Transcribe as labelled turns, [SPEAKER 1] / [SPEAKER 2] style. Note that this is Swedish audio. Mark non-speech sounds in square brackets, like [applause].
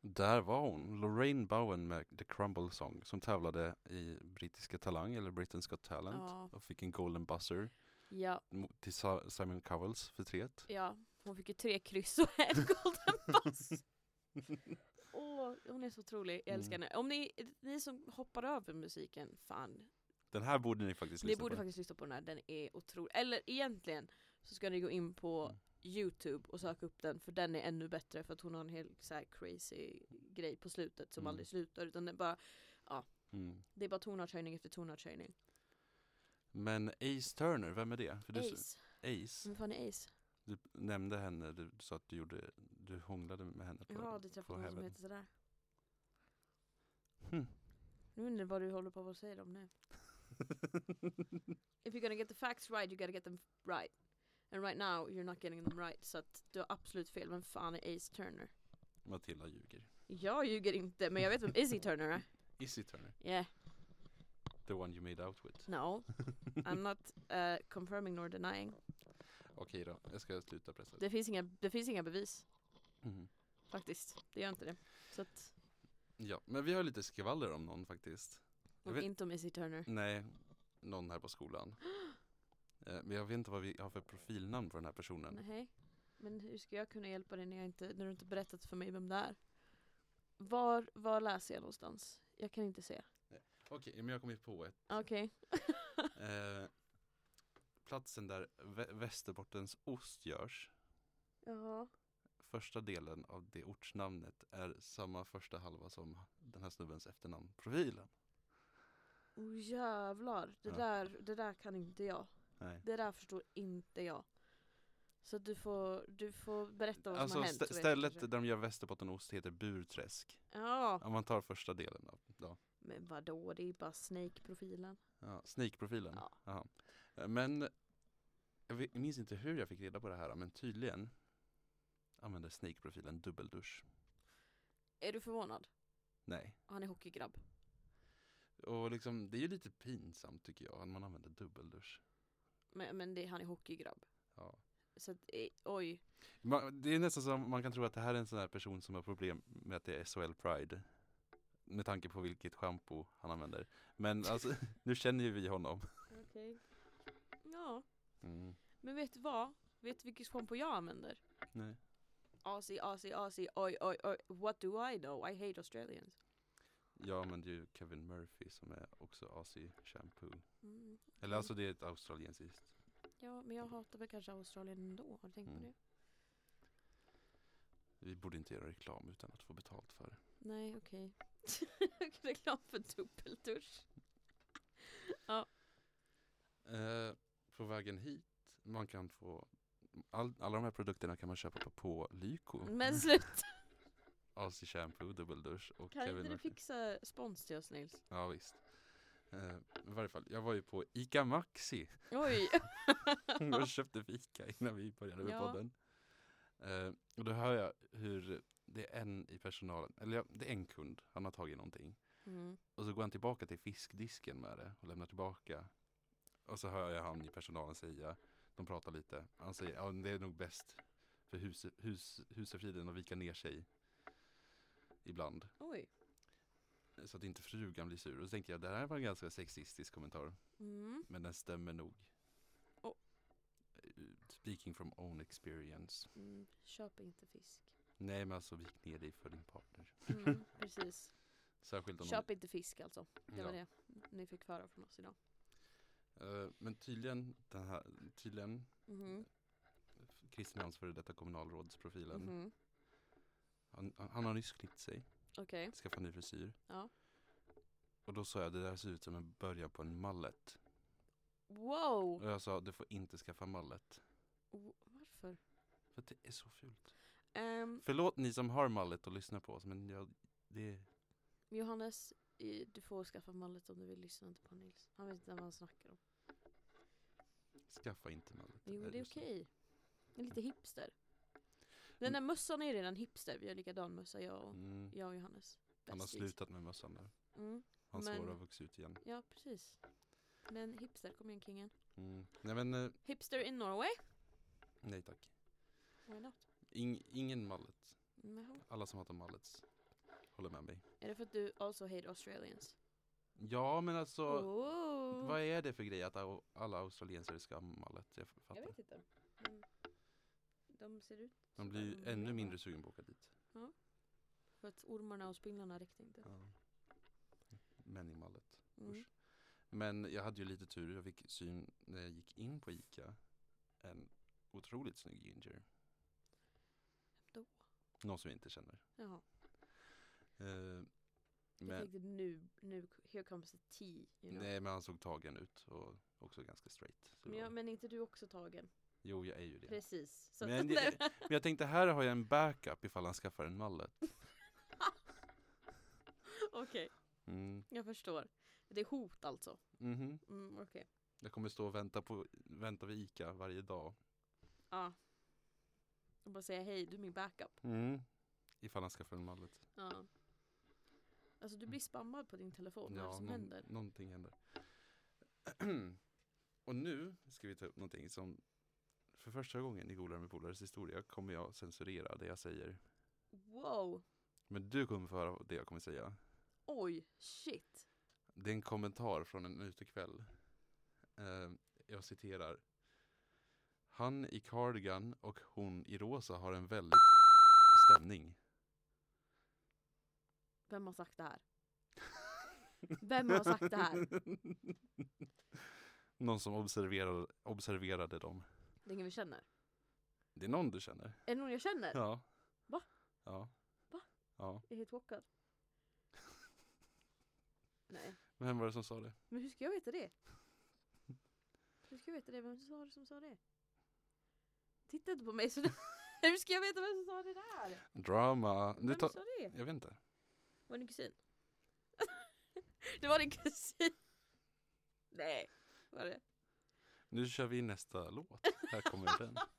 [SPEAKER 1] Där var hon, Lorraine Bowen med The Crumble Song som tävlade i Brittiska Talang eller Britain's Got Talent
[SPEAKER 2] Ja.
[SPEAKER 1] och fick en golden buzzer
[SPEAKER 2] Ja,
[SPEAKER 1] mot- till Sa- Simon Cowells förtret. [laughs]
[SPEAKER 2] ja. Hon fick ju tre kryss och en golden pass. Åh, hon är så otrolig. Jag älskar
[SPEAKER 1] Mm.
[SPEAKER 2] henne. Om ni, ni som hoppar över musiken, fan.
[SPEAKER 1] Den här borde ni faktiskt
[SPEAKER 2] Ni
[SPEAKER 1] lyssna
[SPEAKER 2] borde
[SPEAKER 1] på.
[SPEAKER 2] faktiskt lyssna på den här, den är otrolig. Eller egentligen så ska ni gå in på
[SPEAKER 1] Mm.
[SPEAKER 2] Youtube och söka upp den för den är ännu bättre för att hon har en helt så här crazy grej på slutet som
[SPEAKER 1] Mm.
[SPEAKER 2] aldrig slutar utan den bara,
[SPEAKER 1] Mm.
[SPEAKER 2] det är bara tonartshöjning efter tonartshöjning.
[SPEAKER 1] Men Ace Turner, vem är det? För du,
[SPEAKER 2] Ace,
[SPEAKER 1] Ace,
[SPEAKER 2] vem fan är Ace?
[SPEAKER 1] du nämnde henne, du sa att du gjorde, du hånglade med henne på
[SPEAKER 2] Ja, det
[SPEAKER 1] på
[SPEAKER 2] träffade någon som
[SPEAKER 1] Heaven.
[SPEAKER 2] heter sådär.
[SPEAKER 1] Hmm.
[SPEAKER 2] Nu undrar jag vad du håller på att säga om nu. If you're gonna get the facts right, you gotta get them right. And right now you're not getting them right. Så att du har absolut fel. Vem fan är Ace Turner?
[SPEAKER 1] [laughs] Matilda ljuger.
[SPEAKER 2] Jag ljuger inte, men jag vet vem Izzy Turner är.
[SPEAKER 1] Izzy Turner,
[SPEAKER 2] Yeah,
[SPEAKER 1] the one you made out with.
[SPEAKER 2] no. I'm not eh, confirming nor denying.
[SPEAKER 1] Okej då, jag ska sluta pressa.
[SPEAKER 2] Det finns, inga, det finns inga bevis,
[SPEAKER 1] Mhm.
[SPEAKER 2] faktiskt. Det gör inte det. Så att,
[SPEAKER 1] Ja, men vi har lite skvaller om någon faktiskt. Jag
[SPEAKER 2] och
[SPEAKER 1] vet-
[SPEAKER 2] inte om Izzy Turner.
[SPEAKER 1] Nej, någon här på skolan. Eh, Men jag vet inte vad vi har för profilnamn för den här personen.
[SPEAKER 2] Nej. Men hur ska jag kunna hjälpa dig när, jag inte, när du inte berättat för mig vem det är? Var, var läser jag någonstans? Jag kan inte se.
[SPEAKER 1] Okej, men jag kommer på ett.
[SPEAKER 2] [laughs] Okej.
[SPEAKER 1] Eh, platsen där Vä- Västerbottens ost görs.
[SPEAKER 2] Jaha.
[SPEAKER 1] Första delen av det ortsnamnet är samma första halva som den här snubbens efternamn, profilen.
[SPEAKER 2] Oh jävlar. Det,
[SPEAKER 1] Ja.
[SPEAKER 2] där, det där kan inte jag.
[SPEAKER 1] Nej.
[SPEAKER 2] Det där förstår inte jag. Så att du får, du får berätta vad som
[SPEAKER 1] Alltså
[SPEAKER 2] har hänt.
[SPEAKER 1] stä-
[SPEAKER 2] så vet
[SPEAKER 1] stället
[SPEAKER 2] jag kanske.
[SPEAKER 1] där de gör Västerbottenost heter Burträsk.
[SPEAKER 2] Ja.
[SPEAKER 1] Om man tar första delen av ja.
[SPEAKER 2] Men vadå, det är bara Snake-profilen.
[SPEAKER 1] Ja, Sneakprofilen?
[SPEAKER 2] Ja.
[SPEAKER 1] Jaha. Men jag vet- jag minns inte hur jag fick reda på det här men tydligen använder Sneakprofilen dubbeldusch.
[SPEAKER 2] Är du förvånad?
[SPEAKER 1] Nej.
[SPEAKER 2] Han är hockeygrabb.
[SPEAKER 1] Och liksom, det är ju lite pinsamt tycker jag att man använder dubbeldusch.
[SPEAKER 2] Men, men det, han är hockeygrabb.
[SPEAKER 1] Ja.
[SPEAKER 2] Så att, eh, oj.
[SPEAKER 1] Man, det är nästan som man kan tro att det här är en sån här person som har problem med att det är SHL Pride. Med tanke på vilket shampoo han använder. Men alltså, [laughs] nu känner ju vi honom.
[SPEAKER 2] Okej. Ja.
[SPEAKER 1] Mm.
[SPEAKER 2] Men vet du vad? Vet du vilket schampo jag använder?
[SPEAKER 1] Nej.
[SPEAKER 2] Aussie, Aussie, Aussie, oj, oj, oj. What do I know? I hate Australians.
[SPEAKER 1] Jag använder ju Kevin Murphy som är också Aussie shampoo.
[SPEAKER 2] Mm.
[SPEAKER 1] Eller alltså det är ett australiensiskt
[SPEAKER 2] Ja, men jag hatar väl kanske Australien ändå. Har du tänkt på
[SPEAKER 1] Mm.
[SPEAKER 2] det?
[SPEAKER 1] Vi borde inte göra reklam utan att få betalt för det.
[SPEAKER 2] Nej, okej. [laughs] Reklam för dubbeldusch.
[SPEAKER 1] Eh, på vägen hit, man kan få all, alla de här produkterna kan man köpa på, på Lyko. [laughs]
[SPEAKER 2] Men sluta,
[SPEAKER 1] AC Shampoo, dubbeldusch och
[SPEAKER 2] kan
[SPEAKER 1] Kevin
[SPEAKER 2] inte du
[SPEAKER 1] Murphy.
[SPEAKER 2] fixa spons till oss Nils?
[SPEAKER 1] Ja visst. Eh, I varje fall, jag var ju på ICA
[SPEAKER 2] [laughs]
[SPEAKER 1] Maxi
[SPEAKER 2] Oj!
[SPEAKER 1] och köpte fika innan vi började med
[SPEAKER 2] Ja.
[SPEAKER 1] podden. Eh, och då hör jag hur det är en i personalen, eller ja, det är en kund, han har tagit någonting.
[SPEAKER 2] Mm.
[SPEAKER 1] Och så går han tillbaka till fiskdisken med det och lämnar tillbaka. Och så hör jag han i personalen säga, de pratar lite. Han säger, ja men det är nog bäst för hus, hus, husefriden att vika ner sig ibland.
[SPEAKER 2] Oj.
[SPEAKER 1] Så att inte frugan blir sur. Och så tänkte jag, det här var en ganska sexistisk kommentar.
[SPEAKER 2] Mm.
[SPEAKER 1] Men den stämmer nog.
[SPEAKER 2] Och-
[SPEAKER 1] Eh, Speaking from own experience.
[SPEAKER 2] Mm. Köp inte fisk.
[SPEAKER 1] Nej men alltså vik ner dig för din partner. [laughs]
[SPEAKER 2] Mm, precis.
[SPEAKER 1] Särskilt om
[SPEAKER 2] Köp inte fisk alltså. Det var
[SPEAKER 1] Ja.
[SPEAKER 2] det ni fick höra från oss idag.
[SPEAKER 1] Eh, Men tydligen, den här, tydligen
[SPEAKER 2] Mhm.
[SPEAKER 1] Kristinehamns före detta kommunalrådsprofilen.
[SPEAKER 2] Mhm.
[SPEAKER 1] Han, han han har nyss klippt sig,
[SPEAKER 2] Okej,
[SPEAKER 1] skaffat ny frisyr.
[SPEAKER 2] ja.
[SPEAKER 1] Och då sa jag det där ser ut som en början på en mallet.
[SPEAKER 2] Wow!
[SPEAKER 1] Och jag sa du får inte skaffa mallet.
[SPEAKER 2] O- Varför?
[SPEAKER 1] För att det är så fult.
[SPEAKER 2] Ehm,
[SPEAKER 1] Förlåt ni som har mallet och lyssnar på oss men jag, det är...
[SPEAKER 2] Johannes, i- du får skaffa mallet om du vill lyssna inte på Nils. Han vet inte vad han snackar om.
[SPEAKER 1] Skaffa inte mallet.
[SPEAKER 2] Jo,
[SPEAKER 1] Eh,
[SPEAKER 2] det är
[SPEAKER 1] lyssna.
[SPEAKER 2] okej. Det är lite hipster. Den där mössan är ju redan hipster. Vi har likadan mössa, jag och,
[SPEAKER 1] Mm.
[SPEAKER 2] jag och Johannes.
[SPEAKER 1] Han har
[SPEAKER 2] Bästis.
[SPEAKER 1] slutat med mössan där.
[SPEAKER 2] Mm.
[SPEAKER 1] Hans
[SPEAKER 2] Men-
[SPEAKER 1] hår har vuxit ut igen.
[SPEAKER 2] Ja, precis. Men hipster, kom igen kingen.
[SPEAKER 1] Mm. Nej men, eh,
[SPEAKER 2] Hipster in Norway?
[SPEAKER 1] nej tack.
[SPEAKER 2] Why not?
[SPEAKER 1] Ing, ingen mallet.
[SPEAKER 2] Mm, jaha.
[SPEAKER 1] Alla som hatar mallets. håller med mig.
[SPEAKER 2] Är det för att du also hate Australians?
[SPEAKER 1] Ja, men alltså,
[SPEAKER 2] Oh.
[SPEAKER 1] vad är det för grej att au- alla australiensare är skammallet? Jag
[SPEAKER 2] Jag
[SPEAKER 1] fattar.
[SPEAKER 2] vet inte. Men Mm. de ser ut
[SPEAKER 1] Man
[SPEAKER 2] så
[SPEAKER 1] blir
[SPEAKER 2] där
[SPEAKER 1] ju
[SPEAKER 2] de
[SPEAKER 1] ännu
[SPEAKER 2] är.
[SPEAKER 1] mindre sugen på att åka dit.
[SPEAKER 2] För att ormarna och spindlarna räckte inte.
[SPEAKER 1] Ja. Män i mallet.
[SPEAKER 2] Mm.
[SPEAKER 1] Usch. Men jag hade ju lite tur, jag fick syn när jag gick in på Ica En otroligt snygg ginger
[SPEAKER 2] Då?
[SPEAKER 1] Någon som jag inte känner
[SPEAKER 2] Jaha.
[SPEAKER 1] eh,
[SPEAKER 2] Jag
[SPEAKER 1] men,
[SPEAKER 2] tänkte nu, nu, here comes the tea. You know.
[SPEAKER 1] Nej men han såg tagen ut och också ganska straight så.
[SPEAKER 2] Men, jag, men är inte du också tagen?
[SPEAKER 1] Jo jag är ju det
[SPEAKER 2] Precis. Så
[SPEAKER 1] Men
[SPEAKER 2] att,
[SPEAKER 1] det- Men jag tänkte här har jag en backup ifall han skaffar en mallet
[SPEAKER 2] [laughs] Okej,
[SPEAKER 1] mm.
[SPEAKER 2] jag förstår. Det är hot alltså.
[SPEAKER 1] mhm.
[SPEAKER 2] Mm, Okej.
[SPEAKER 1] Jag kommer stå och vänta, på, vänta vid Ica varje dag
[SPEAKER 2] Ja. Och bara säga hej, du är min backup.
[SPEAKER 1] mm. Ifall han skaffar en mallet
[SPEAKER 2] Ja. Alltså du blir spammad på din telefon. Vad är det som
[SPEAKER 1] någon-
[SPEAKER 2] händer?
[SPEAKER 1] Någonting händer. [clears throat] och nu ska vi ta upp någonting som för första gången i Golare med polares historia kommer jag censurera det jag säger.
[SPEAKER 2] Wow!
[SPEAKER 1] Men du kommer få höra det jag kommer säga.
[SPEAKER 2] Oj, shit.
[SPEAKER 1] Det är en kommentar från en utekväll. Eh, jag citerar. Han i cardigan och hon i rosa har en väldigt stämning.
[SPEAKER 2] Vem har sagt
[SPEAKER 1] [laughs]
[SPEAKER 2] det här? Vem har sagt det här?
[SPEAKER 1] Någon som observerade, observerade dem.
[SPEAKER 2] Det är ingen vi känner.
[SPEAKER 1] Det är någon du känner.
[SPEAKER 2] Är det någon jag känner?
[SPEAKER 1] Ja.
[SPEAKER 2] Va?
[SPEAKER 1] Ja.
[SPEAKER 2] Va?
[SPEAKER 1] Ja.
[SPEAKER 2] Jag är helt chockad. Nej.
[SPEAKER 1] Men vem var det som sa det?
[SPEAKER 2] Men hur ska jag veta det? Hur ska jag veta det? Vem var det som sa det? Titta inte på mig sådär. [laughs] Hur ska jag veta vem som sa det där?
[SPEAKER 1] Drama. Du
[SPEAKER 2] Vem
[SPEAKER 1] ta-
[SPEAKER 2] sa det?
[SPEAKER 1] jag vet inte.
[SPEAKER 2] Var det din kusin? [laughs] det var din kusin. Nej, var det?
[SPEAKER 1] Nu kör vi nästa låt. Här kommer den.